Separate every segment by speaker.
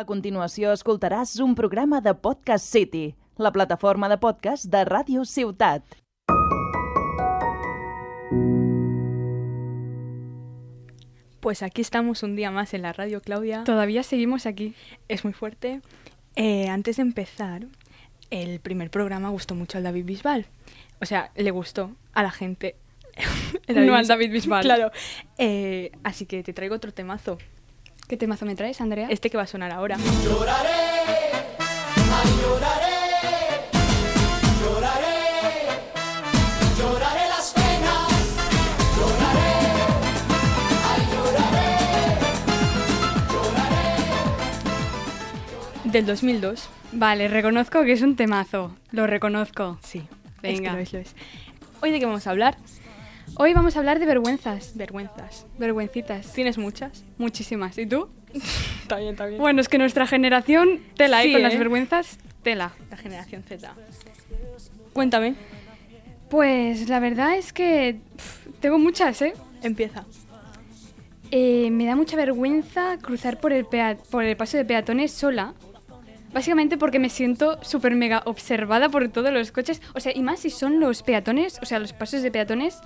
Speaker 1: A continuació escoltaràs un programa de Podcast City, la plataforma de podcast de Ràdio Ciutat.
Speaker 2: Pues aquí estamos un día más en la radio, Claudia.
Speaker 3: Todavía seguimos aquí.
Speaker 2: Es muy fuerte. Eh, antes de empezar, el primer programa gustó mucho al David Bisbal. O sea, le gustó a la gente. El
Speaker 3: No al David Bisbal.
Speaker 2: Claro. Eh, así que te traigo otro temazo.
Speaker 3: ¿Qué temazo me traes, Andrea?
Speaker 2: Este que va a sonar ahora.
Speaker 4: Lloraré las penas, lloraré, ay lloraré,
Speaker 2: Del 2002.
Speaker 3: Vale, reconozco que es un temazo. Lo reconozco.
Speaker 2: Sí.
Speaker 3: Venga.
Speaker 2: Es que lo es, lo es. Hoy de qué vamos a hablar?
Speaker 3: Hoy vamos a hablar de vergüenzas.
Speaker 2: Vergüenzas.
Speaker 3: Vergüencitas.
Speaker 2: ¿Tienes muchas?
Speaker 3: Muchísimas. ¿Y tú?
Speaker 2: Está bien, está bien.
Speaker 3: Bueno, es que nuestra generación tela, ¿eh?
Speaker 2: Sí,
Speaker 3: Con
Speaker 2: ¿eh?
Speaker 3: las vergüenzas, tela.
Speaker 2: La generación Z. Cuéntame.
Speaker 3: Pues la verdad es que pf, tengo muchas, ¿eh?
Speaker 2: Empieza.
Speaker 3: Eh, Me da mucha vergüenza cruzar por el, pea- por el paso de peatones sola. Básicamente porque me siento súper mega observada por todos los coches. O sea, y más si son los peatones, o sea, los pasos de peatones,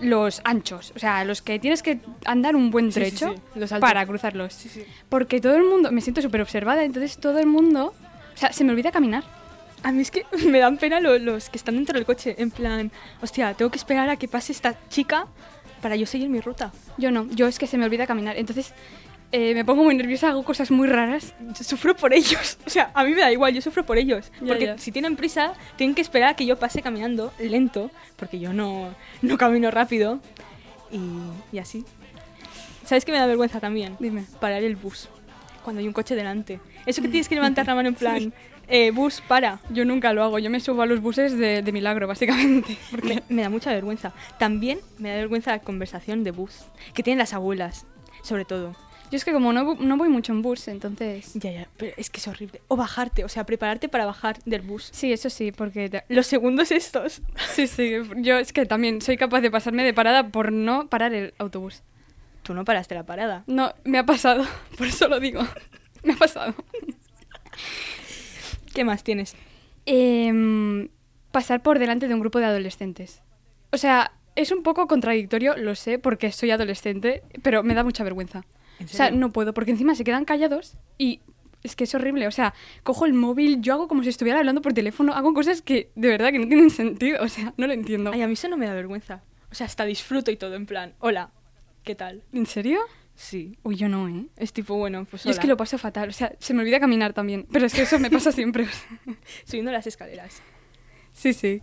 Speaker 3: los anchos. O sea, los que tienes que andar un buen
Speaker 2: Sí, sí,
Speaker 3: trecho
Speaker 2: sí, los altos.
Speaker 3: para cruzarlos.
Speaker 2: sí.
Speaker 3: Porque todo el mundo, me siento súper observada, entonces todo el mundo, o sea, se me olvida caminar.
Speaker 2: A mí es que me dan pena lo- los que están dentro del coche. En plan, hostia, tengo que esperar a que pase esta chica para yo seguir mi ruta.
Speaker 3: Yo no, yo es que se me olvida caminar. Entonces eh, me pongo muy nerviosa, hago cosas muy raras.
Speaker 2: Yo sufro por ellos. O sea, a mí me da igual, yo sufro por ellos.
Speaker 3: Ya,
Speaker 2: porque
Speaker 3: ya.
Speaker 2: si tienen prisa, tienen que esperar a que yo pase caminando lento, porque yo no, no camino rápido. Y, y así. ¿Sabes qué me da vergüenza también?
Speaker 3: Dime.
Speaker 2: Parar el bus cuando hay un coche delante. Eso que tienes que levantar la mano en plan, eh, bus, para.
Speaker 3: Yo nunca lo hago, yo me subo a los buses de, de milagro, básicamente. Porque
Speaker 2: Me, me da mucha vergüenza. También me da vergüenza la conversación de bus que tienen las abuelas, sobre todo.
Speaker 3: yo es que como no, bu- no voy mucho en bus, entonces...
Speaker 2: Ya, ya, pero es que es horrible. O bajarte, o sea, prepararte para bajar del bus.
Speaker 3: Sí, eso sí, porque... te-
Speaker 2: Los segundos estos.
Speaker 3: Sí, sí, yo es que también soy capaz de pasarme de parada por no parar el autobús.
Speaker 2: Tú no paraste la parada.
Speaker 3: No, me ha pasado, por eso lo digo. Me ha pasado.
Speaker 2: ¿Qué más tienes?
Speaker 3: Em, pasar por delante de un grupo de adolescentes. O sea, es un poco contradictorio, lo sé, porque soy adolescente, pero me da mucha vergüenza.
Speaker 2: ¿En
Speaker 3: O sea,
Speaker 2: serio?
Speaker 3: no puedo, porque encima se quedan callados y es que es horrible. O sea, cojo el móvil, yo hago como si estuviera hablando por teléfono, hago cosas que de verdad que no tienen sentido. O sea, no lo entiendo.
Speaker 2: Ay, a mí eso no me da vergüenza. O sea, hasta disfruto y todo, en plan, hola, ¿qué tal?
Speaker 3: ¿En serio?
Speaker 2: Sí.
Speaker 3: Uy, yo no, ¿eh?
Speaker 2: Es tipo, bueno, pues
Speaker 3: Yo es
Speaker 2: hola.
Speaker 3: que lo paso fatal, o sea, se me olvida caminar también, pero es que eso me pasa siempre. o sea.
Speaker 2: Subiendo las escaleras.
Speaker 3: sí, sí.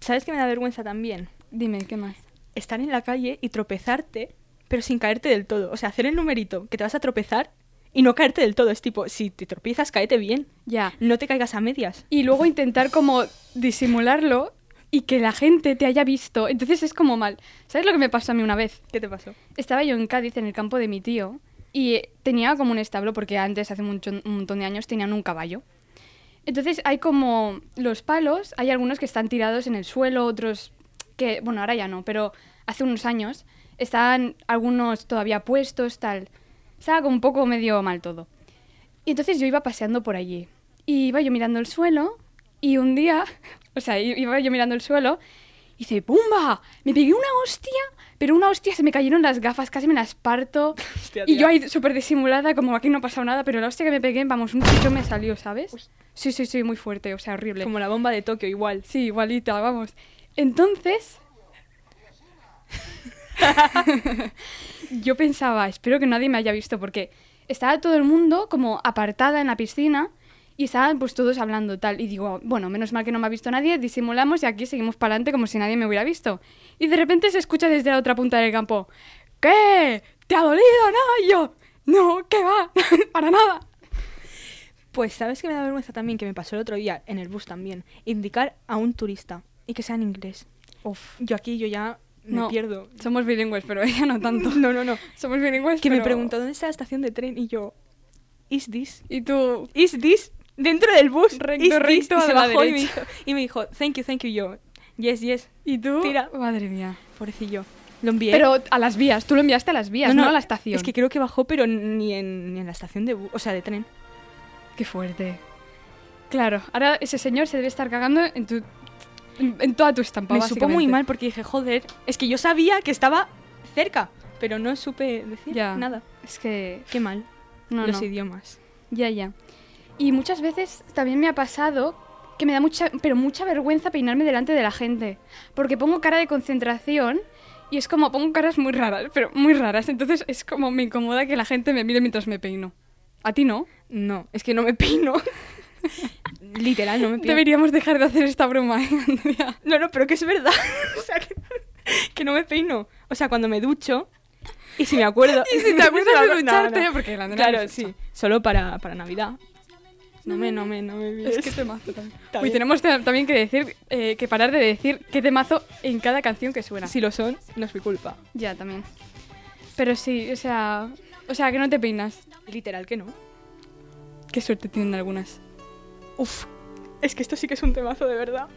Speaker 2: ¿Sabes qué me da vergüenza también?
Speaker 3: Dime, ¿qué más?
Speaker 2: estar en la calle y tropezarte, pero sin caerte del todo. O sea, hacer el numerito que te vas a tropezar y no caerte del todo. Es tipo, si te tropiezas, caete bien.
Speaker 3: Ya.
Speaker 2: No te caigas a medias.
Speaker 3: y luego intentar como disimularlo y que la gente te haya visto. Entonces es como mal. ¿Sabes lo que me pasó a mí una vez?
Speaker 2: ¿Qué te pasó?
Speaker 3: Estaba yo en Cádiz, en el campo de mi tío, y eh, tenía como un establo, porque antes, hace mucho- un montón de años, tenían un caballo. Entonces hay como los palos, hay algunos que están tirados en el suelo, otros que, bueno, ahora ya no, pero hace unos años estaban algunos todavía puestos, tal. Estaba como un poco medio mal todo. Y entonces yo iba paseando por allí. Y iba yo mirando el suelo y un día, o sea, i- iba yo mirando el suelo y dice, ¡pumba! Me pegué una hostia, pero una hostia se me cayeron las gafas, casi me las parto.
Speaker 2: Hostia,
Speaker 3: y
Speaker 2: tía.
Speaker 3: yo ahí súper disimulada, como aquí no ha pasado nada, pero la hostia que me pegué, vamos, un chicho me salió, ¿sabes? Sí, sí, sí, muy fuerte, o sea, horrible.
Speaker 2: Como la bomba de Tokio, igual.
Speaker 3: Sí, igualita, vamos. Entonces, yo pensaba, espero que nadie me haya visto, porque estaba todo el mundo como apartada en la piscina y estaban pues todos hablando tal. Y digo, bueno, menos mal que no me ha visto nadie, disimulamos y aquí seguimos para adelante como si nadie me hubiera visto. Y de repente se escucha desde la otra punta del campo, ¿qué? ¿Te ha dolido? No, y yo, no, ¿qué va? para nada.
Speaker 2: Pues, ¿sabes qué me da vergüenza también? Que me pasó el otro día, en el bus también. Indicar a un turista y que sea en inglés.
Speaker 3: Uf,
Speaker 2: Yo aquí, yo ya me
Speaker 3: No.
Speaker 2: pierdo.
Speaker 3: somos bilingües, pero ella no tanto.
Speaker 2: No, no, no.
Speaker 3: Somos bilingües,
Speaker 2: Que me
Speaker 3: Pues, pero-
Speaker 2: preguntó dónde está la estación de tren y yo, ¿is this?
Speaker 3: Y tú,
Speaker 2: ¿Is this? Dentro del bus.
Speaker 3: Recto,
Speaker 2: "Is this?"
Speaker 3: recto
Speaker 2: y
Speaker 3: a
Speaker 2: se
Speaker 3: la
Speaker 2: bajó y me,
Speaker 3: derecha.
Speaker 2: dijo, y me dijo, thank you, thank you, yo. Yes, yes.
Speaker 3: y tú.
Speaker 2: Tira.
Speaker 3: Madre mía.
Speaker 2: Pobrecillo. Lo envié.
Speaker 3: Pero a las vías, tú lo enviaste a las vías, no, a la estación.
Speaker 2: Es que creo que bajó, pero ni en, ni en la estación de, bu- o sea, de tren.
Speaker 3: Qué fuerte. Claro, ahora ese señor se debe estar cagando en tu en en toda tu estampa,
Speaker 2: Me supo muy
Speaker 3: básicamente.
Speaker 2: mal porque dije, joder, es que yo sabía que estaba cerca, pero no supe decir
Speaker 3: Ya.
Speaker 2: nada.
Speaker 3: Es que
Speaker 2: Qué mal,
Speaker 3: no,
Speaker 2: los
Speaker 3: no.
Speaker 2: idiomas.
Speaker 3: Ya, ya. Y muchas veces también me ha pasado que me da mucha, pero mucha vergüenza peinarme delante de la gente. Porque pongo cara de concentración y es como, pongo caras muy raras, pero muy raras. Entonces es como me incomoda que la gente me mire mientras me peino. ¿A ti no?
Speaker 2: No, es que no me peino. Literal, no me peino.
Speaker 3: Deberíamos dejar de hacer esta broma, ¿eh, Andrea?
Speaker 2: No, no, pero que es verdad. o sea, que, que no me peino. O sea, cuando me ducho, y si me acuerdo...
Speaker 3: Y si te acuerdas de ducharte,
Speaker 2: No, no.
Speaker 3: porque la Andrea
Speaker 2: Claro,
Speaker 3: nos
Speaker 2: sí.
Speaker 3: echa.
Speaker 2: Solo para, para Navidad. No me, no me, no me mires.
Speaker 3: Es que temazo también.
Speaker 2: Está
Speaker 3: Uy,
Speaker 2: bien.
Speaker 3: tenemos ta- también que decir, eh, que parar de decir qué temazo en cada canción que suena.
Speaker 2: Si lo son, no es mi culpa.
Speaker 3: Ya, también. Pero sí, o sea, o sea, que no te peinas.
Speaker 2: Literal que no.
Speaker 3: Qué suerte tienen algunas.
Speaker 2: Uf, es que esto sí que es un temazo de verdad.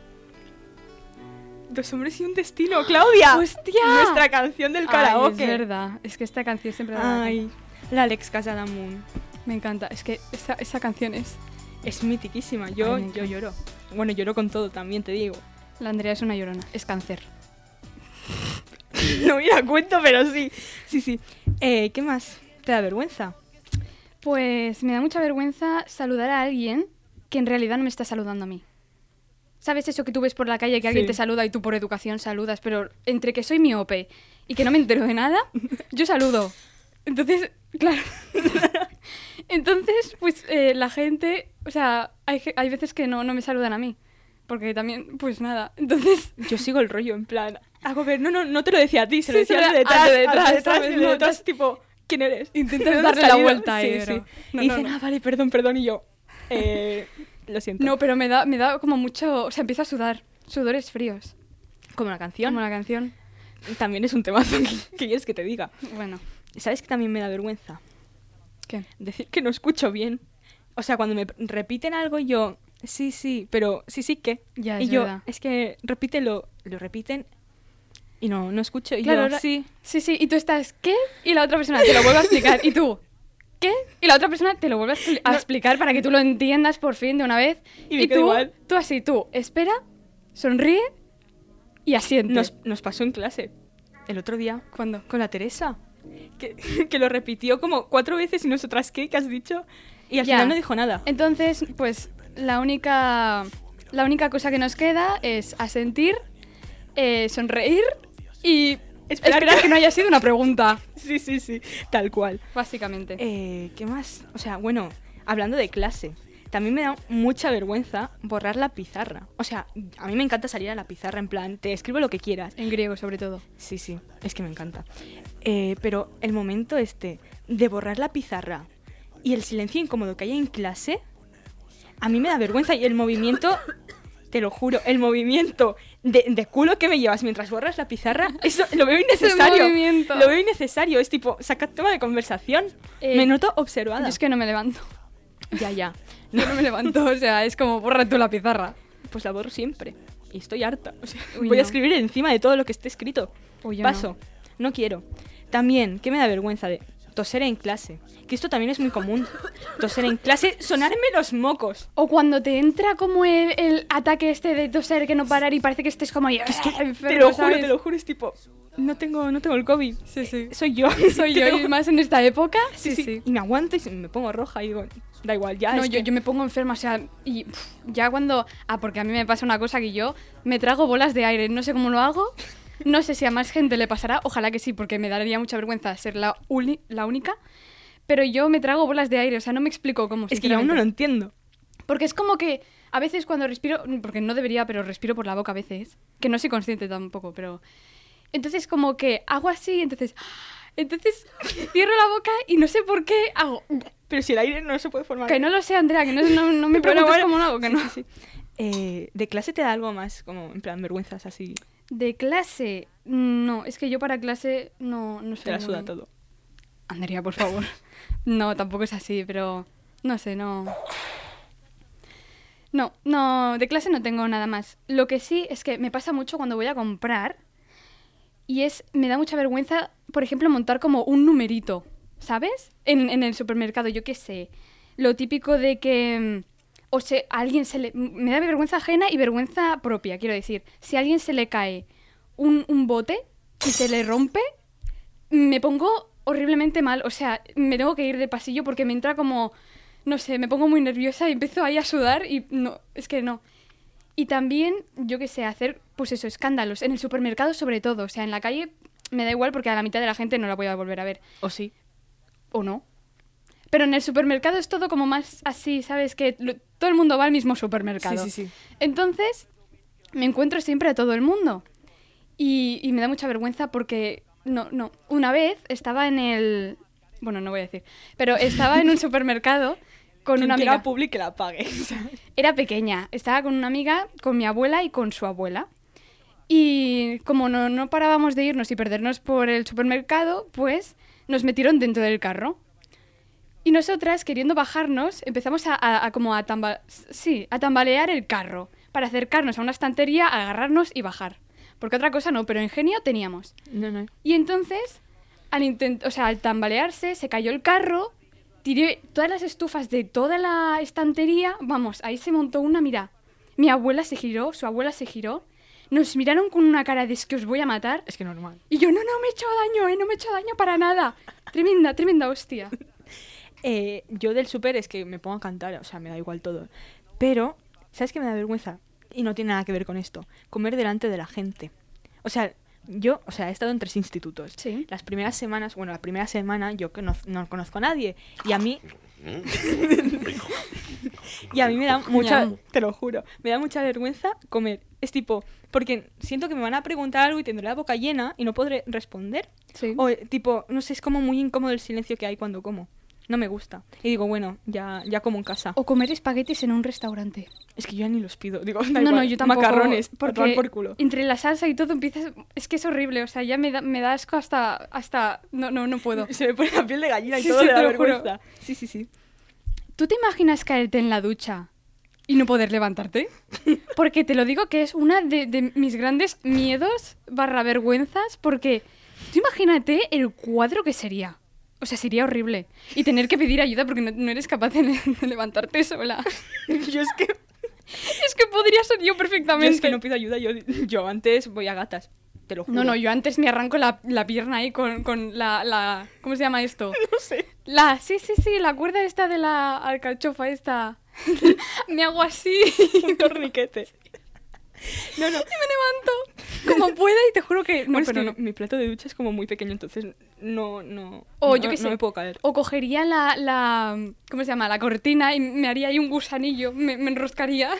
Speaker 2: Dos hombres y un destino, Claudia.
Speaker 3: ¡Hostia!
Speaker 2: Nuestra canción del karaoke.
Speaker 3: Ay, es verdad, es que esta canción siempre da-
Speaker 2: Ay, la Alex Casadamun.
Speaker 3: me encanta. Es que esa, esa canción es.
Speaker 2: Es mitiquísima. Yo,
Speaker 3: Ay, me
Speaker 2: yo
Speaker 3: encanta. lloro.
Speaker 2: lloro. Bueno, lloro con todo también, te digo.
Speaker 3: La Andrea es una llorona, es cáncer.
Speaker 2: No me la cuento, pero sí. Sí, sí. Eh, ¿Qué más? ¿Te da vergüenza?
Speaker 3: Pues me da mucha vergüenza saludar a alguien que en realidad no me está saludando a mí. ¿Sabes eso que tú ves por la calle que alguien
Speaker 2: Sí.
Speaker 3: te saluda y tú por educación saludas? Pero entre que soy miope y que no me entero de nada, yo saludo. Entonces, claro. Entonces, pues eh, la gente, o sea, hay, ge- hay veces que no, no me saludan a mí. Porque también, pues nada. Entonces,
Speaker 2: Yo sigo el rollo, en plan. Hago ver, no, no, no te lo decía a ti, se lo
Speaker 3: Sí,
Speaker 2: decía
Speaker 3: se
Speaker 2: al
Speaker 3: lo-
Speaker 2: de detrás.
Speaker 3: al de
Speaker 2: al de
Speaker 3: detrás,
Speaker 2: detrás,
Speaker 3: ¿sabes?
Speaker 2: y el de
Speaker 3: No,
Speaker 2: detrás,
Speaker 3: estás-
Speaker 2: tipo, ¿quién eres?
Speaker 3: Intentas
Speaker 2: ¿De dónde has
Speaker 3: darle la
Speaker 2: salido?
Speaker 3: vuelta,
Speaker 2: sí,
Speaker 3: eh,
Speaker 2: sí.
Speaker 3: pero- No,
Speaker 2: y
Speaker 3: no,
Speaker 2: dicen,
Speaker 3: no.
Speaker 2: ah, vale, perdón, perdón, y yo. eh, lo siento.
Speaker 3: no, pero me da, me da como mucho, o sea, empiezo a sudar. Sudores fríos.
Speaker 2: como la canción.
Speaker 3: Como la canción.
Speaker 2: También es un temazo que, que quieres que te diga.
Speaker 3: Bueno,
Speaker 2: ¿Sabes que también me da vergüenza?
Speaker 3: ¿qué?
Speaker 2: Decir que no escucho bien. O sea, cuando me p- repiten algo yo, sí, sí, pero sí, sí, ¿qué?
Speaker 3: Ya,
Speaker 2: y
Speaker 3: es
Speaker 2: yo,
Speaker 3: verdad.
Speaker 2: es que repítelo, lo repiten y no, no escucho. Y
Speaker 3: Claro,
Speaker 2: yo,
Speaker 3: ahora-
Speaker 2: sí,
Speaker 3: Sí, sí, y tú estás, ¿qué? Y la otra persona te lo vuelve a explicar. Y tú, ¿qué? Y la otra persona te lo vuelve a, expli- a explicar para que tú lo entiendas por fin de una vez.
Speaker 2: Y me quedo
Speaker 3: tú,
Speaker 2: igual.
Speaker 3: tú así, tú, espera, sonríe y asiente.
Speaker 2: Nos, nos pasó en clase el otro día
Speaker 3: ¿Cuándo?
Speaker 2: con la Teresa, que, que lo repitió como cuatro veces y nosotras, ¿qué? ¿Qué has dicho? Y al
Speaker 3: Ya.
Speaker 2: final no dijo nada.
Speaker 3: Entonces, pues la única, la única cosa que nos queda es asentir, eh, sonreír y
Speaker 2: Esperar
Speaker 3: esperar,
Speaker 2: que-
Speaker 3: que no haya sido una pregunta,
Speaker 2: Sí, sí, sí, tal cual.
Speaker 3: básicamente.
Speaker 2: Eh, ¿Qué más? O sea, bueno, hablando de clase, también me da mucha vergüenza borrar la pizarra. O sea, a mí me encanta salir a la pizarra en plan, te escribo lo que quieras.
Speaker 3: En griego, sobre todo.
Speaker 2: Sí, sí, es que me encanta. Eh, pero el momento este de borrar la pizarra y el silencio incómodo que hay en clase, a mí me da vergüenza y el movimiento, te lo juro, el movimiento de, de culo que me llevas mientras borras la pizarra, eso lo veo innecesario.
Speaker 3: movimiento.
Speaker 2: Lo veo innecesario, es tipo, saca tema de conversación.
Speaker 3: Eh,
Speaker 2: me noto
Speaker 3: Yo
Speaker 2: observada.
Speaker 3: es que no me levanto.
Speaker 2: Ya, ya.
Speaker 3: Yo no me levanto, o sea, es como borra tú la pizarra.
Speaker 2: Pues la borro siempre. Y estoy harta. O sea,
Speaker 3: Uy,
Speaker 2: voy a
Speaker 3: no.
Speaker 2: escribir encima de todo lo que esté escrito.
Speaker 3: Uy, yo
Speaker 2: Paso. No. quiero. También, ¿qué me da vergüenza de toser en clase? Que esto también es muy común. Toser en clase, sonarme los mocos.
Speaker 3: O cuando te entra como el, el ataque este de toser que no parar y parece que estés como ahí. ah,
Speaker 2: te lo juro, te lo juro, es tipo, no tengo, no tengo el COVID.
Speaker 3: Sí, sí.
Speaker 2: Soy yo.
Speaker 3: Soy
Speaker 2: Te
Speaker 3: yo
Speaker 2: lo
Speaker 3: y
Speaker 2: juro.
Speaker 3: más en esta época.
Speaker 2: Sí, sí, Y me aguanto y se- me pongo roja y digo, da igual, ya.
Speaker 3: No,
Speaker 2: es
Speaker 3: yo,
Speaker 2: que-
Speaker 3: yo me pongo enferma, o sea, y pff, ya cuando. Ah, porque a mí me pasa una cosa que yo me trago bolas de aire, no sé cómo lo hago. No sé si a más gente le pasará, ojalá que sí, porque me daría mucha vergüenza ser la, uni- la única. Pero yo me trago bolas de aire, o sea, no me explico cómo.
Speaker 2: es que yo aún no
Speaker 3: sinceramente.
Speaker 2: lo entiendo.
Speaker 3: Porque es como que a veces cuando respiro, porque no debería, pero respiro por la boca a veces, que no soy consciente tampoco, pero... Entonces como que hago así, entonces... Entonces cierro la boca y no sé por qué hago...
Speaker 2: Pero si el aire no se puede formar.
Speaker 3: Que no lo sé, Andrea, que no, no, no me
Speaker 2: Bueno,
Speaker 3: preguntes
Speaker 2: bueno.
Speaker 3: cómo lo hago, que
Speaker 2: Sí,
Speaker 3: no.
Speaker 2: sí, sí. Eh, de clase te da algo más, como en plan vergüenzas así,
Speaker 3: De clase, no, es que yo para clase no, no sé.
Speaker 2: te la suda todo.
Speaker 3: Andrea, por favor. No, tampoco es así, pero no sé, no. No, no, de clase no tengo nada más. Lo que sí es que me pasa mucho cuando voy a comprar Y es, me da mucha vergüenza, por ejemplo, montar como un numerito, ¿sabes? En, en el supermercado, yo qué sé. Lo típico de que... mm, O se, a alguien se le... Me da vergüenza ajena y vergüenza propia, quiero decir. Si a alguien se le cae un, un bote y se le rompe, me pongo horriblemente mal. O sea, me tengo que ir del pasillo porque me entra como... No sé, me pongo muy nerviosa y empiezo ahí a sudar y no, es que no. Y también, yo qué sé, hacer, pues eso, escándalos. En el supermercado sobre todo. O sea, en la calle me da igual porque a la mitad de la gente no la voy a volver a ver.
Speaker 5: ¿O sí?
Speaker 3: ¿O no? Pero en el supermercado es todo como más así, ¿sabes? Que lo- todo el mundo va al mismo supermercado.
Speaker 5: Sí, sí, sí.
Speaker 3: Entonces, me encuentro siempre a todo el mundo. Y, y me da mucha vergüenza porque, no, no, una vez estaba en el... Bueno, no voy a decir. Pero estaba en un supermercado con
Speaker 2: Quien
Speaker 3: una
Speaker 2: quiera
Speaker 3: amiga.
Speaker 2: public que la pague. o sea.
Speaker 3: Era pequeña, estaba con una amiga, con mi abuela y con su abuela. Y como no, no parábamos de irnos y perdernos por el supermercado, pues nos metieron dentro del carro. Y nosotras, queriendo bajarnos, empezamos a, a- a como a, tamba- sí, a tambalear el carro para acercarnos a una estantería, agarrarnos y bajar. Porque otra cosa no, pero ingenio teníamos.
Speaker 5: No, no.
Speaker 3: Y entonces, al, intent- o sea, al tambalearse, se cayó el carro, tiré todas las estufas de toda la estantería. Vamos, ahí se montó una mira. Mi abuela se giró, su abuela se giró. Nos miraron con una cara de es que os voy a matar.
Speaker 5: Es que normal.
Speaker 3: Y yo, no, no, me he hecho daño, ¿eh? No me he hecho daño para nada. Tremenda, tremenda hostia.
Speaker 2: Eh, yo del súper es que me pongo a cantar, o sea, me da igual todo. Pero, ¿sabes qué me da vergüenza? Y no tiene nada que ver con esto. Comer delante de la gente. O sea, yo, o sea, he estado en tres institutos.
Speaker 3: Sí.
Speaker 2: Las primeras semanas, bueno, la primera semana yo que no, no conozco a nadie. Y a mí... y a mí me da mucha...
Speaker 3: Ñam.
Speaker 2: Te lo juro. Me da mucha vergüenza comer. Es tipo, porque siento que me van a preguntar algo y tendré la boca llena y no podré responder.
Speaker 3: Sí.
Speaker 2: O eh, tipo, no sé, es como muy incómodo el silencio que hay cuando como. No me gusta. Y digo, bueno, ya, ya como en casa.
Speaker 3: O comer espaguetis en un restaurante.
Speaker 2: Es que yo ya ni los pido. Digo, da
Speaker 3: no, no,
Speaker 2: igual,
Speaker 3: yo tampoco.
Speaker 2: Macarrones, por
Speaker 3: porque
Speaker 2: tomar por culo.
Speaker 3: Entre la salsa y todo empiezas. Es que es horrible, o sea, ya me da, me da asco hasta. hasta no, no, no puedo.
Speaker 2: Se me pone la piel de gallina y
Speaker 3: Sí,
Speaker 2: todo
Speaker 3: sí,
Speaker 2: de la
Speaker 3: te lo juro.
Speaker 2: vergüenza. Sí, sí, sí.
Speaker 3: ¿Tú te imaginas caerte en la ducha y no poder levantarte? Porque te lo digo que es una de, de mis grandes miedos barra vergüenzas porque tú imagínate el cuadro que sería. O sea, sería horrible. Y tener que pedir ayuda porque no, no eres capaz de, le- de levantarte sola.
Speaker 2: yo es que,
Speaker 3: Es que podría ser yo
Speaker 2: yo
Speaker 3: perfectamente.
Speaker 2: es que no pido ayuda. Yo, yo antes voy a gatas. Te lo juro.
Speaker 3: no, no, yo antes me arranco la, la pierna ahí con, con la, la... ¿Cómo se llama esto?
Speaker 2: No sé.
Speaker 3: La, sí, sí, sí, la cuerda esta de la alcachofa esta. me hago así.
Speaker 2: Un torniquete. No, no.
Speaker 3: me levanto como pueda y te juro que
Speaker 2: No,
Speaker 3: no,
Speaker 2: pero
Speaker 3: pero
Speaker 2: no, mi plato de ducha es como muy pequeño, entonces no, no. no-
Speaker 3: O yo qué sé.
Speaker 2: No me puedo caer.
Speaker 3: O cogería la, la. ¿Cómo se llama? La cortina y me haría ahí un gusanillo, me, me enroscaría.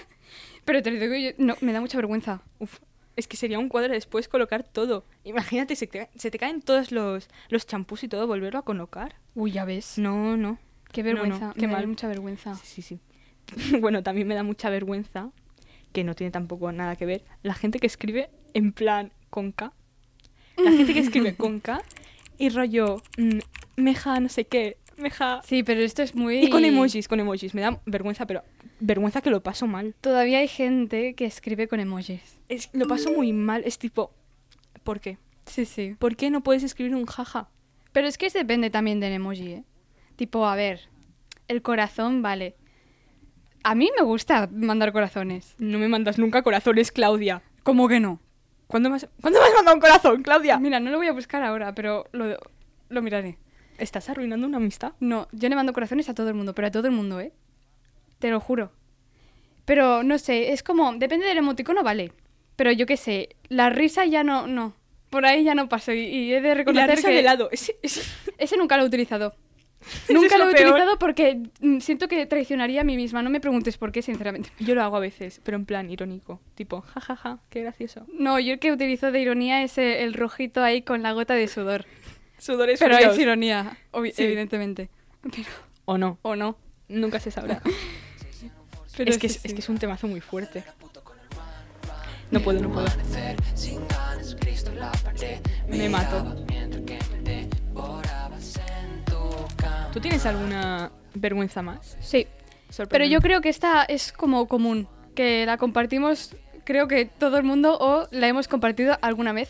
Speaker 3: Pero te lo digo, yo- no, me da mucha vergüenza.
Speaker 2: Uf, es que sería un cuadro después colocar todo. Imagínate, se te, se te caen todos los, los champús y todo, volverlo a colocar.
Speaker 3: Uy, ya ves.
Speaker 2: No, no.
Speaker 3: Qué
Speaker 2: No,
Speaker 3: vergüenza,
Speaker 2: no, qué
Speaker 3: me da
Speaker 2: mal.
Speaker 3: mucha vergüenza.
Speaker 2: Sí, sí, sí. bueno, también me da mucha vergüenza, que no tiene tampoco nada que ver, la gente que escribe en plan con K. La gente que escribe con K y rollo mm, meja no sé qué, meja...
Speaker 3: Sí, pero esto es muy.
Speaker 2: Y con emojis, con emojis. Me da vergüenza, pero vergüenza que lo paso mal.
Speaker 3: Todavía hay gente que escribe con emojis.
Speaker 2: Es, lo paso muy mal. Es tipo, ¿por qué?
Speaker 3: Sí, sí.
Speaker 2: ¿Por qué no puedes escribir un jaja?
Speaker 3: Pero es que es- depende también del emoji, ¿eh? Tipo, a ver, el corazón, vale. A mí me gusta mandar corazones.
Speaker 2: No me mandas nunca corazones, Claudia.
Speaker 3: ¿Cómo que no?
Speaker 2: ¿Cuándo me has, ¿cuándo me has mandado un corazón, Claudia?
Speaker 3: Mira, no lo voy a buscar ahora, pero lo, lo miraré.
Speaker 2: ¿Estás arruinando una amistad?
Speaker 3: No, yo le mando corazones a todo el mundo, pero a todo el mundo, ¿eh? Te lo juro. Pero no sé, es como, depende del emoticono, vale. Pero yo qué sé, la risa ya no, no. Por ahí ya no paso y, y he de
Speaker 2: Con la
Speaker 3: reconocer
Speaker 2: risa
Speaker 3: que
Speaker 2: de lado. Es- es-
Speaker 3: ese nunca lo he utilizado.
Speaker 2: es
Speaker 3: Nunca lo,
Speaker 2: lo
Speaker 3: he
Speaker 2: peor.
Speaker 3: utilizado porque mm, siento que traicionaría a mí misma. No me preguntes por qué, sinceramente.
Speaker 2: Yo lo hago a veces, pero en plan irónico. Tipo, jajaja, qué gracioso.
Speaker 3: No, yo el que utilizo de ironía es eh, el rojito ahí con la gota de sudor.
Speaker 2: Sudores
Speaker 3: Pero
Speaker 2: fríos.
Speaker 3: es ironía, obvi-
Speaker 2: Sí.
Speaker 3: evidentemente. Pero,
Speaker 2: O no.
Speaker 3: o no.
Speaker 2: Nunca se sabrá.
Speaker 3: Pero
Speaker 2: es, que
Speaker 3: sí,
Speaker 2: es, es
Speaker 3: sí.
Speaker 2: que es un temazo muy fuerte. No puedo, no puedo. Me mato. ¿Tú tienes alguna vergüenza más?
Speaker 3: Sí, pero
Speaker 2: Sorpréndeme.
Speaker 3: yo creo que esta es como común, que la compartimos, creo que todo el mundo o la hemos compartido alguna vez,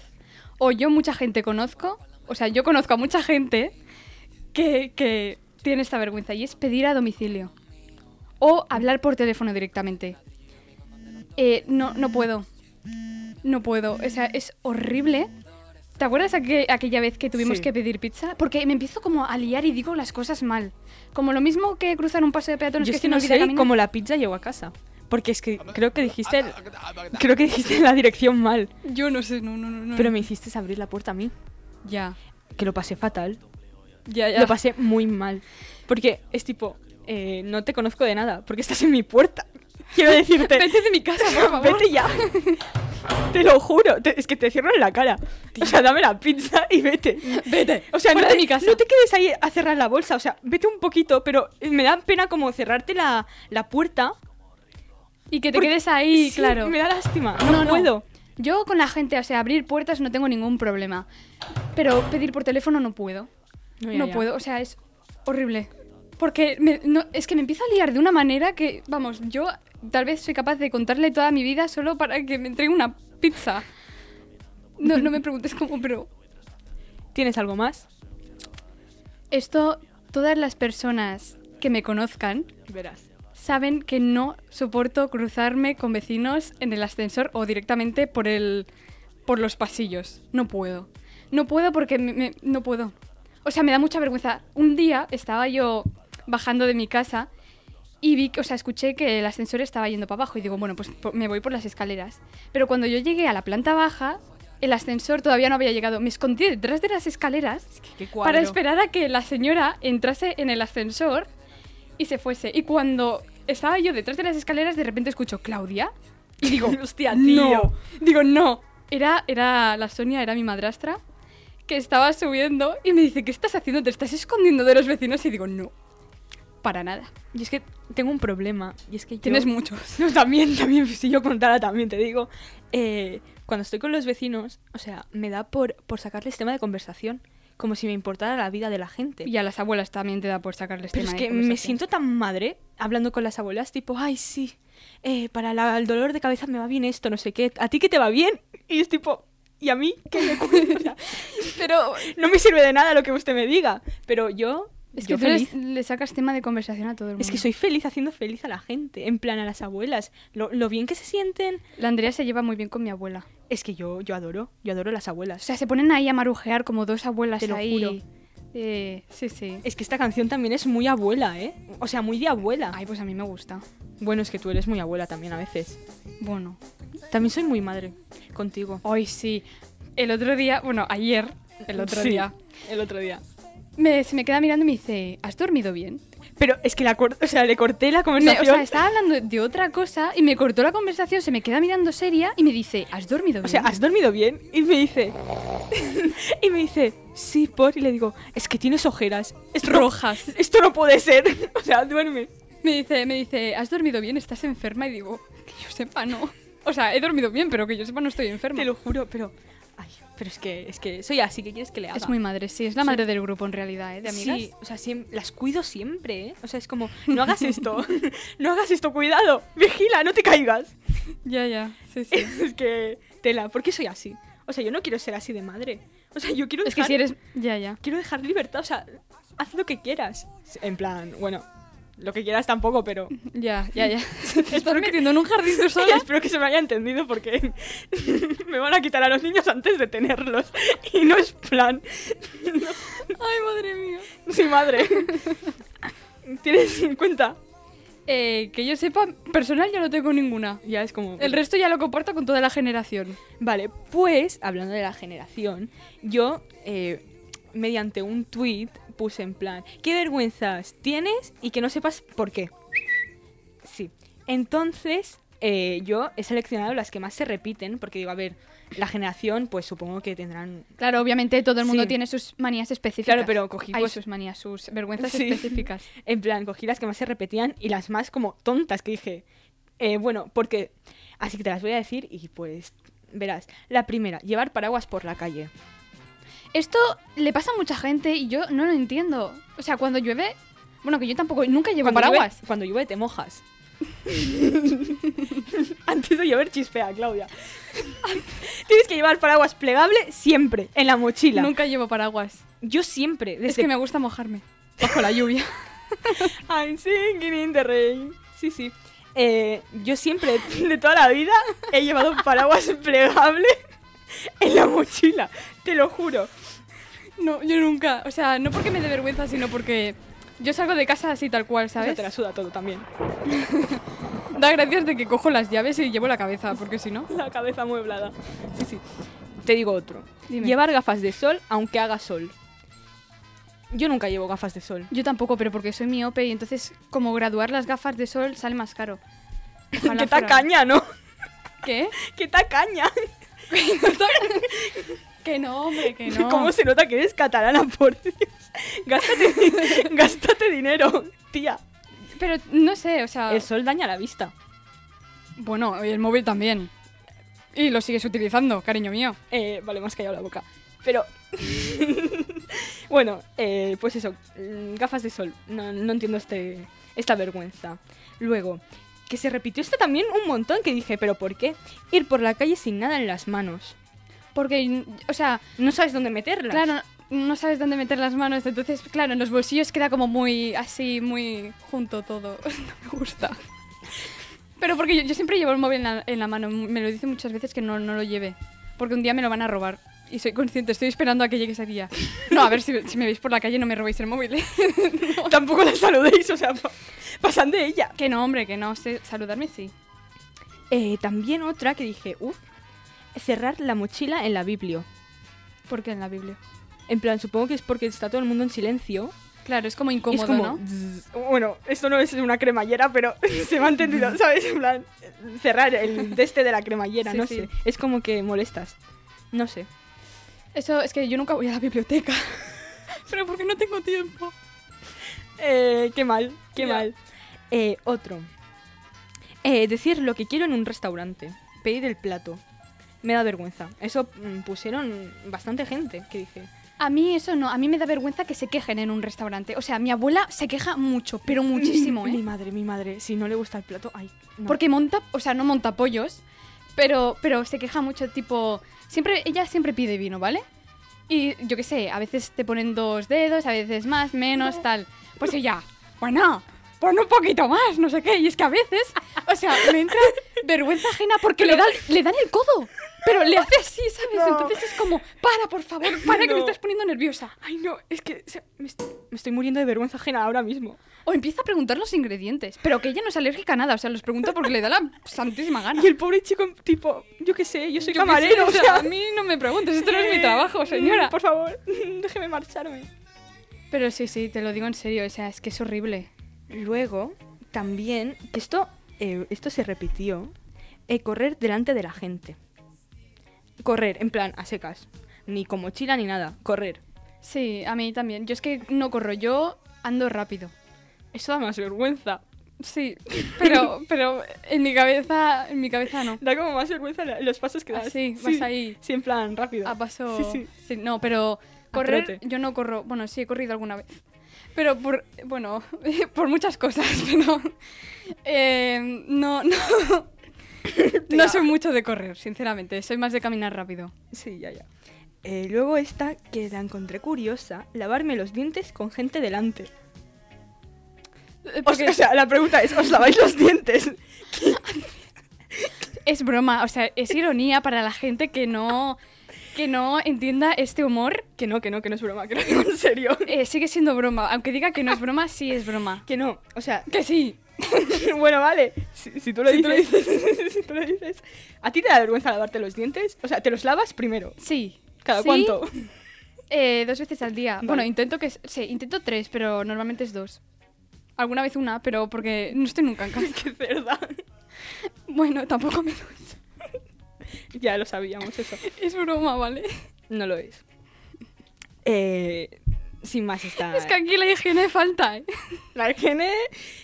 Speaker 3: o yo mucha gente conozco, o sea, yo conozco a mucha gente que, que tiene esta vergüenza y es pedir a domicilio o hablar por teléfono directamente. Eh, no, no puedo. No puedo. O sea, es horrible. ¿Te acuerdas aqu- aquella vez que tuvimos
Speaker 2: Sí.
Speaker 3: que pedir pizza? Porque me empiezo como a liar y digo las cosas mal. Como lo mismo que cruzar un paso de peatones
Speaker 2: Yo
Speaker 3: que
Speaker 2: es que
Speaker 3: se me
Speaker 2: no
Speaker 3: olvida
Speaker 2: sé
Speaker 3: caminar.
Speaker 2: cómo la pizza llegó a casa. Porque es que creo que dijiste el- creo que dijiste la dirección mal.
Speaker 3: Yo no sé, no, no, no. no.
Speaker 2: Pero me hiciste abrir la puerta a mí.
Speaker 3: Ya,
Speaker 2: Que lo pasé fatal.
Speaker 3: ya, Ah, ya.
Speaker 2: Lo pasé muy mal. Porque es tipo, eh, no te conozco de nada, porque estás en mi puerta. Quiero decirte.
Speaker 3: Vete de mi casa, por favor.
Speaker 2: Vete ya. Te lo juro. te- es que te cierro en la cara. O sea, dame la pizza y vete.
Speaker 3: Vete.
Speaker 2: O sea, no
Speaker 3: fuera
Speaker 2: te,
Speaker 3: de mi casa.
Speaker 2: no te quedes ahí a cerrar la bolsa. O sea, vete un poquito, pero me da pena como cerrarte la, la puerta.
Speaker 3: Y que te
Speaker 2: Porque-
Speaker 3: quedes ahí,
Speaker 2: Sí,
Speaker 3: claro.
Speaker 2: Me da lástima. No, puedo.
Speaker 3: Yo con la gente, o sea, abrir puertas no tengo ningún problema. Pero pedir por teléfono no puedo.
Speaker 2: No, ya,
Speaker 3: no
Speaker 2: ya.
Speaker 3: puedo, o sea, es horrible. Porque me- no- es que me empiezo a liar de una manera que, vamos, yo tal vez soy capaz de contarle toda mi vida solo para que me entregue una pizza. No, no me preguntes cómo, pero
Speaker 2: ¿Tienes algo más?
Speaker 3: esto, todas las personas que me conozcan
Speaker 2: Verás.
Speaker 3: saben que no soporto cruzarme con vecinos en el ascensor o directamente por el por los pasillos. No puedo. No puedo porque me- me- no puedo. O sea, me da mucha vergüenza. Un día estaba yo bajando de mi casa y vi, que- o sea, escuché que el ascensor estaba yendo para abajo y digo, bueno, pues po- me voy por las escaleras. Pero cuando yo llegué a la planta baja, el ascensor todavía no había llegado. Me escondí detrás de las escaleras
Speaker 2: Qué
Speaker 3: para esperar a que la señora entrase en el ascensor y se fuese. Y cuando estaba yo detrás de las escaleras, de repente escucho Claudia.
Speaker 2: Y digo, hostia,
Speaker 3: No. Digo, no. Era, era la Sonia, era mi madrastra, que estaba subiendo y me dice, ¿qué estás haciendo? ¿Te estás escondiendo de los vecinos? Y digo, no. Para nada.
Speaker 2: Y es que tengo un problema. Y es que yo-
Speaker 3: Tienes muchos.
Speaker 2: No, también, también, si yo contara también te digo. Eh, cuando estoy con los vecinos, o sea, me da por, por sacarles tema de conversación. Como si me importara la vida de la gente.
Speaker 3: Y a las abuelas también te da por sacarles
Speaker 2: Pero
Speaker 3: tema
Speaker 2: es
Speaker 3: de
Speaker 2: que me
Speaker 3: conversación.
Speaker 2: siento tan madre hablando con las abuelas, tipo, ay, sí, eh, para la- el dolor de cabeza me va bien esto, no sé qué, ¿a ti que te va bien? Y es tipo, ¿y a mí qué me cuesta? pero no me sirve de nada lo que usted me diga, pero yo,
Speaker 3: Es que
Speaker 2: yo
Speaker 3: tú les-
Speaker 2: feliz.
Speaker 3: le sacas tema de conversación a todo el mundo.
Speaker 2: Es que soy feliz haciendo feliz a la gente, en plan a las abuelas, lo, lo bien que se sienten.
Speaker 3: La Andrea se lleva muy bien con mi abuela.
Speaker 2: Es que yo, yo adoro, yo adoro las
Speaker 3: O
Speaker 2: abuelas.
Speaker 3: sea, se ponen ahí a marujear como dos abuelas
Speaker 2: Te lo
Speaker 3: ahí.
Speaker 2: juro.
Speaker 3: Eh, sí, sí.
Speaker 2: Es que esta canción también es muy abuela, ¿eh? O sea, muy de abuela.
Speaker 3: Ay, pues a mí me gusta.
Speaker 2: Bueno, es que tú eres muy abuela también a veces.
Speaker 3: Bueno.
Speaker 2: También soy muy madre contigo.
Speaker 3: Ay, sí. El otro día, bueno, ayer, el otro
Speaker 2: Sí,
Speaker 3: día,
Speaker 2: El otro día.
Speaker 3: me- se me queda mirando y me dice, ¿has dormido bien?
Speaker 2: Pero es que la cor- o sea, le corté la
Speaker 3: Me- o
Speaker 2: conversación.
Speaker 3: sea, estaba hablando de otra cosa y me cortó la conversación, se me queda mirando seria y me dice, ¿has dormido bien?
Speaker 2: O sea, ¿has dormido bien? Y me dice. y me dice, sí, por. Y le digo, es que tienes ojeras. Esto no-
Speaker 3: rojas.
Speaker 2: esto no puede ser. o sea, duerme.
Speaker 3: Me dice, me dice, ¿has dormido bien? ¿Estás enferma? Y digo, que yo sepa, no. O sea, he dormido bien, pero que yo sepa, no estoy enferma.
Speaker 2: Te lo juro, pero. Ay, pero es que, es que soy así. ¿Qué quieres que le haga?
Speaker 3: Es muy madre, sí, es la madre del grupo en realidad, ¿eh? De amigas.
Speaker 2: Sí, o sea, siem- las cuido siempre, ¿eh? O sea, es como, no hagas esto, no hagas esto, cuidado, vigila, no te caigas.
Speaker 3: Ya, ya, sí, sí.
Speaker 2: es que, tela, ¿por qué soy así? O sea, yo no quiero ser así de madre. O sea, yo quiero
Speaker 3: es que
Speaker 2: dejar-
Speaker 3: si eres... Ya, ya.
Speaker 2: quiero dejar libertad, o sea, haz lo que quieras. En plan, bueno, lo que quieras tampoco, pero
Speaker 3: Ya, ya, ya. Te estás metiendo en un jardín tú sola.
Speaker 2: espero que se me haya entendido porque me van a quitar a los niños antes de tenerlos. Y no es plan.
Speaker 3: Ay, madre mía.
Speaker 2: Sí, madre. Tienes 50.
Speaker 3: Eh, que yo sepa, personal ya no tengo ninguna.
Speaker 2: Ya es como...
Speaker 3: El resto ya lo comparto con toda la generación.
Speaker 2: Vale, pues, hablando de la generación, yo, eh, mediante un tweet puse en plan, ¿qué vergüenzas tienes y que no sepas por qué? Sí. Entonces, eh, yo he seleccionado las que más se repiten, porque digo, a ver, la generación, pues supongo que tendrán...
Speaker 3: Claro, obviamente todo el mundo
Speaker 2: Sí.
Speaker 3: tiene sus manías específicas.
Speaker 2: Claro, pero cogí,
Speaker 3: Hay
Speaker 2: pues-
Speaker 3: sus manías, sus vergüenzas
Speaker 2: Sí.
Speaker 3: específicas.
Speaker 2: En plan, cogí las que más se repetían y las más como tontas que dije, eh, bueno, porque... Así que te las voy a decir y pues... Verás, la primera, llevar paraguas por la calle.
Speaker 3: Esto le pasa a mucha gente y yo no lo entiendo. O sea, cuando llueve... Bueno, que yo tampoco, nunca llevo
Speaker 2: Cuando llueve-
Speaker 3: paraguas.
Speaker 2: cuando llueve te mojas. Antes de llover chispea, Claudia. Tienes que llevar paraguas plegable siempre en la mochila.
Speaker 3: Nunca llevo paraguas.
Speaker 2: Yo siempre, desde
Speaker 3: Es que me gusta mojarme bajo la lluvia.
Speaker 2: I'm singing in the rain. Sí, sí. Eh, yo siempre, de toda la vida, he llevado un paraguas plegable en la mochila, te lo juro.
Speaker 3: No, yo nunca. O sea, no porque me dé vergüenza, sino porque yo salgo de casa así tal cual,
Speaker 2: Eso
Speaker 3: ¿sabes?
Speaker 2: te la suda todo también.
Speaker 3: Da gracias de que cojo las llaves y llevo la cabeza, porque si no.
Speaker 2: La cabeza mueblada. Sí, sí. Te digo otro.
Speaker 3: Dime.
Speaker 2: Llevar gafas de sol aunque haga sol. Yo nunca llevo gafas de sol.
Speaker 3: Yo tampoco, pero porque soy miope y entonces como graduar las gafas de sol sale más caro. Ojalá
Speaker 2: Qué
Speaker 3: fuera-
Speaker 2: tacaña, ¿no?
Speaker 3: ¿Qué?
Speaker 2: Qué tacaña.
Speaker 3: que no, hombre, que no.
Speaker 2: ¿Cómo se nota que eres catalana, por Dios? Gástate, gástate dinero, tía.
Speaker 3: Pero no sé, o sea...
Speaker 2: El sol daña la vista.
Speaker 3: Bueno, y el móvil también. Y lo sigues utilizando, cariño mío.
Speaker 2: Eh, vale, me has callado la boca. Pero. bueno, eh, pues eso. mm, Gafas de sol. No, no entiendo este, esta vergüenza. Luego, que se repitió esto también un montón que dije, ¿pero por qué? Ir por la calle sin nada en las manos.
Speaker 3: Porque, o sea,
Speaker 2: No sabes dónde meterlas.
Speaker 3: claro, no sabes dónde meter las manos, entonces, claro, en los bolsillos queda como muy así, muy junto todo. no me gusta. Pero porque yo, yo siempre llevo el móvil en la, en la mano, me lo dice muchas veces que no, no lo lleve, porque un día me lo van a robar. Y soy consciente, estoy esperando a que llegue ese día. No, a ver, si, si me veis por la calle no me robéis el móvil. ¿eh?
Speaker 2: Tampoco las saludéis, o sea, pa- pasan de ella.
Speaker 3: que no, hombre, que no. sé Saludarme sí.
Speaker 2: Eh, también otra que dije, uff, cerrar la mochila en la biblio.
Speaker 3: Porque en la Biblia.
Speaker 2: En plan, supongo que es porque está todo el mundo en silencio
Speaker 3: Claro, es como
Speaker 2: Y
Speaker 3: incómodo,
Speaker 2: es como,
Speaker 3: ¿no?
Speaker 2: "Zzz". Bueno, esto no es una cremallera, pero se me ha entendido, ¿sabes? En plan, cerrar el de este de la cremallera,
Speaker 3: Sí,
Speaker 2: no
Speaker 3: sí.
Speaker 2: sé. Es como que molestas. No sé.
Speaker 3: Eso es que yo nunca voy a la biblioteca. Pero porque no tengo tiempo.
Speaker 2: Eh, qué mal, qué
Speaker 3: Ya.
Speaker 2: mal. Eh, otro. Eh, decir lo que quiero en un restaurante. Pedir el plato. Me da vergüenza. Eso mm, pusieron bastante gente, que dije.
Speaker 3: A mí eso no, a mí me da vergüenza que se quejen en un restaurante. O sea, mi abuela se queja mucho, pero muchísimo,
Speaker 2: Mi
Speaker 3: ¿eh?
Speaker 2: madre, mi madre. Si no le gusta el plato, ay. no.
Speaker 3: Porque monta, o sea, no monta pollos, pero, pero se queja mucho, tipo, siempre, ella siempre pide vino, ¿vale? Y yo qué sé, a veces te ponen dos dedos, a veces más, menos, tal. Pues ella, bueno, pon un poquito más, no sé qué. Y es que a veces, o sea, me entra vergüenza ajena porque le, dan, le dan el codo. Pero le hace así, ¿sabes?
Speaker 2: No.
Speaker 3: Entonces es como, para, por favor, para que me
Speaker 2: No.
Speaker 3: estás poniendo nerviosa.
Speaker 2: Ay, no, es que o sea, me, est- me estoy muriendo de vergüenza ajena ahora mismo.
Speaker 3: O empieza a preguntar los ingredientes. Pero que ella no es alérgica a nada. O sea, los pregunta porque le da la santísima gana.
Speaker 2: Y el pobre chico, tipo, yo qué sé, yo soy
Speaker 3: Yo qué sé,
Speaker 2: camarero,
Speaker 3: o sea,
Speaker 2: o
Speaker 3: a
Speaker 2: sea,
Speaker 3: mí no me preguntes. Esto no es mi
Speaker 2: eh,
Speaker 3: trabajo, señora.
Speaker 2: Por favor, déjeme marcharme.
Speaker 3: Pero sí, sí, te lo digo en serio. O sea, es que es horrible.
Speaker 2: Luego, también, que esto, eh, esto se repitió, eh, correr delante de la gente. Correr, en plan, a secas. Ni con mochila ni nada, correr.
Speaker 3: Sí, a mí también. Yo es que no corro. Yo ando rápido.
Speaker 2: Eso da más vergüenza.
Speaker 3: Sí, pero, pero en mi cabeza, en mi cabeza no.
Speaker 2: Da como más vergüenza la- los pasos que das.
Speaker 3: Así, Ah, vas ahí. Ah,
Speaker 2: Sí, en plan, rápido.
Speaker 3: A paso.
Speaker 2: Ah, Sí, sí.
Speaker 3: sí, no, pero correr,
Speaker 2: trote.
Speaker 3: yo no corro. Bueno, sí, he corrido alguna vez. Pero por, bueno, por muchas cosas, pero eh, no, no, no soy mucho de correr, sinceramente. Soy más de caminar rápido.
Speaker 2: Sí, ya, ya. Eh, luego esta, que la encontré curiosa, lavarme los dientes con gente delante.
Speaker 3: Eh,
Speaker 2: O
Speaker 3: Porque
Speaker 2: sea, o sea, la pregunta es, ¿os laváis los dientes?
Speaker 3: es broma, o sea, es ironía para la gente que no, que no entienda este humor.
Speaker 2: Que no, que no, que no es broma, que lo digo en serio.
Speaker 3: Eh, sigue siendo broma, aunque diga que no es broma, sí es broma.
Speaker 2: Que no, o sea,
Speaker 3: Que sí.
Speaker 2: bueno, vale. Si, si tú lo
Speaker 3: Si tú lo
Speaker 2: dices, si tú lo dices. ¿A ti te da vergüenza lavarte los dientes? O sea, ¿te los lavas primero?
Speaker 3: Sí.
Speaker 2: ¿Cada
Speaker 3: Sí,
Speaker 2: cuánto?
Speaker 3: Eh, dos veces al día.
Speaker 2: Vale.
Speaker 3: Bueno, intento que... Sí, intento tres, pero normalmente es dos. Alguna vez una, pero porque no estoy nunca en casa.
Speaker 2: Qué cerda.
Speaker 3: bueno, tampoco me...
Speaker 2: ya lo sabíamos eso.
Speaker 3: Es broma, ¿vale?
Speaker 2: No lo es. Eh, sin más está.
Speaker 3: Es que aquí la higiene falta, ¿eh?
Speaker 2: La higiene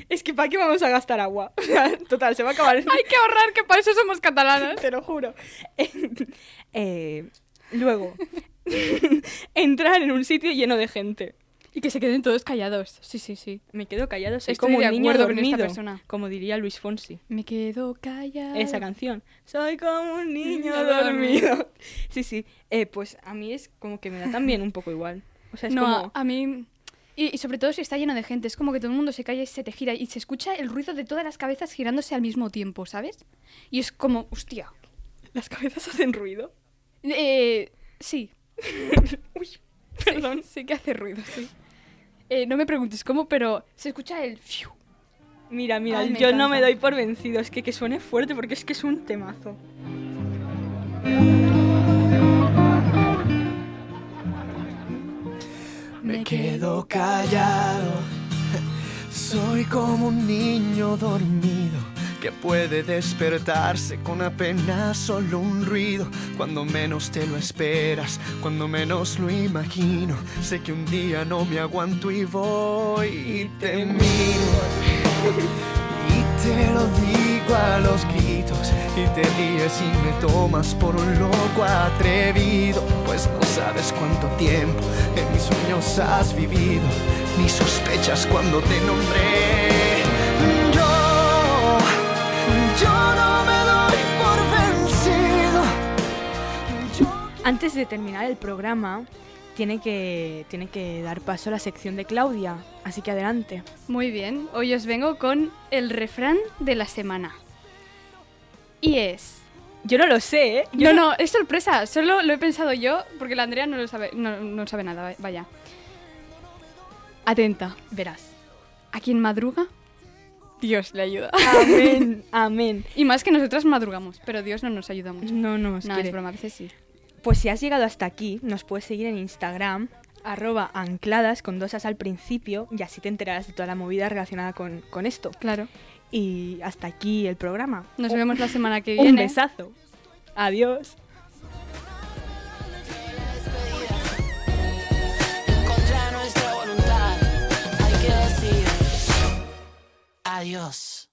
Speaker 2: es que ¿para qué vamos a gastar agua? O sea, Total, se va a acabar.
Speaker 3: Hay que ahorrar, que para eso somos catalanas.
Speaker 2: Te lo juro. Eh, luego, entrar en un sitio lleno de gente.
Speaker 3: Y que se queden todos callados. Sí, sí, sí.
Speaker 2: Me quedo callado, soy
Speaker 3: Estoy
Speaker 2: como
Speaker 3: de
Speaker 2: un niño
Speaker 3: acuerdo con esta
Speaker 2: dormido,
Speaker 3: persona.
Speaker 2: como diría Luis Fonsi.
Speaker 3: Me quedo callado.
Speaker 2: Esa canción. Soy como Ah. un niño
Speaker 3: Niño dormido.
Speaker 2: dormido. Sí, sí. Eh, pues a mí es como que me da también un poco igual. O sea, es
Speaker 3: No,
Speaker 2: como...
Speaker 3: a mí... Y, y sobre todo si está lleno de gente, es como que todo el mundo se calla y se te gira y se escucha el ruido de todas las cabezas girándose al mismo tiempo, ¿sabes? Y es como, hostia.
Speaker 2: Las cabezas hacen ruido.
Speaker 3: Eh, sí,
Speaker 2: Uy, perdón.
Speaker 3: sí que hace ruido, sí. Eh, no me preguntes cómo, pero se escucha el... fiu.
Speaker 2: Mira, mira,
Speaker 3: Ay, me
Speaker 2: yo no me
Speaker 3: encanta.
Speaker 2: doy por vencido. Es que que suene fuerte porque es que es un temazo.
Speaker 5: Me quedo callado. Soy como un niño dormido que puede despertarse con apenas solo un ruido. Cuando menos te lo esperas, cuando menos lo imagino. Sé que un día no me aguanto y voy y te miro. Y te lo digo a los gritos y te ríes y me tomas por un loco atrevido. Pues no sabes cuánto tiempo en mis sueños has vivido, ni sospechas cuando te nombré. Yo, yo no me doy por vencido. Yo-
Speaker 2: Antes de terminar el programa, tiene que, tiene que dar paso a la sección de Claudia. Así que adelante.
Speaker 3: Muy bien, hoy os vengo con el refrán de la semana. Y es...
Speaker 2: Yo no lo sé, ¿eh?
Speaker 3: No, no, es sorpresa, solo lo he pensado yo porque la Andrea no lo sabe, no, no sabe nada, vaya. Atenta, verás. ¿A quien madruga? Dios le ayuda.
Speaker 2: Amén, amén.
Speaker 3: Y más que nosotras madrugamos, pero Dios no nos ayuda mucho.
Speaker 2: No, no, es
Speaker 3: No,
Speaker 2: que-
Speaker 3: es broma, a veces sí.
Speaker 2: Pues si has llegado hasta aquí, nos puedes seguir en Instagram, arroba ancladas con dos as al principio, y así te enterarás de toda la movida relacionada con, con esto.
Speaker 3: Claro.
Speaker 2: Y hasta aquí el programa.
Speaker 3: Nos
Speaker 2: Un-
Speaker 3: vemos ¿eh? la semana que viene.
Speaker 2: Un besazo. Adiós.
Speaker 4: Contra nuestra voluntad, hay que decir adiós.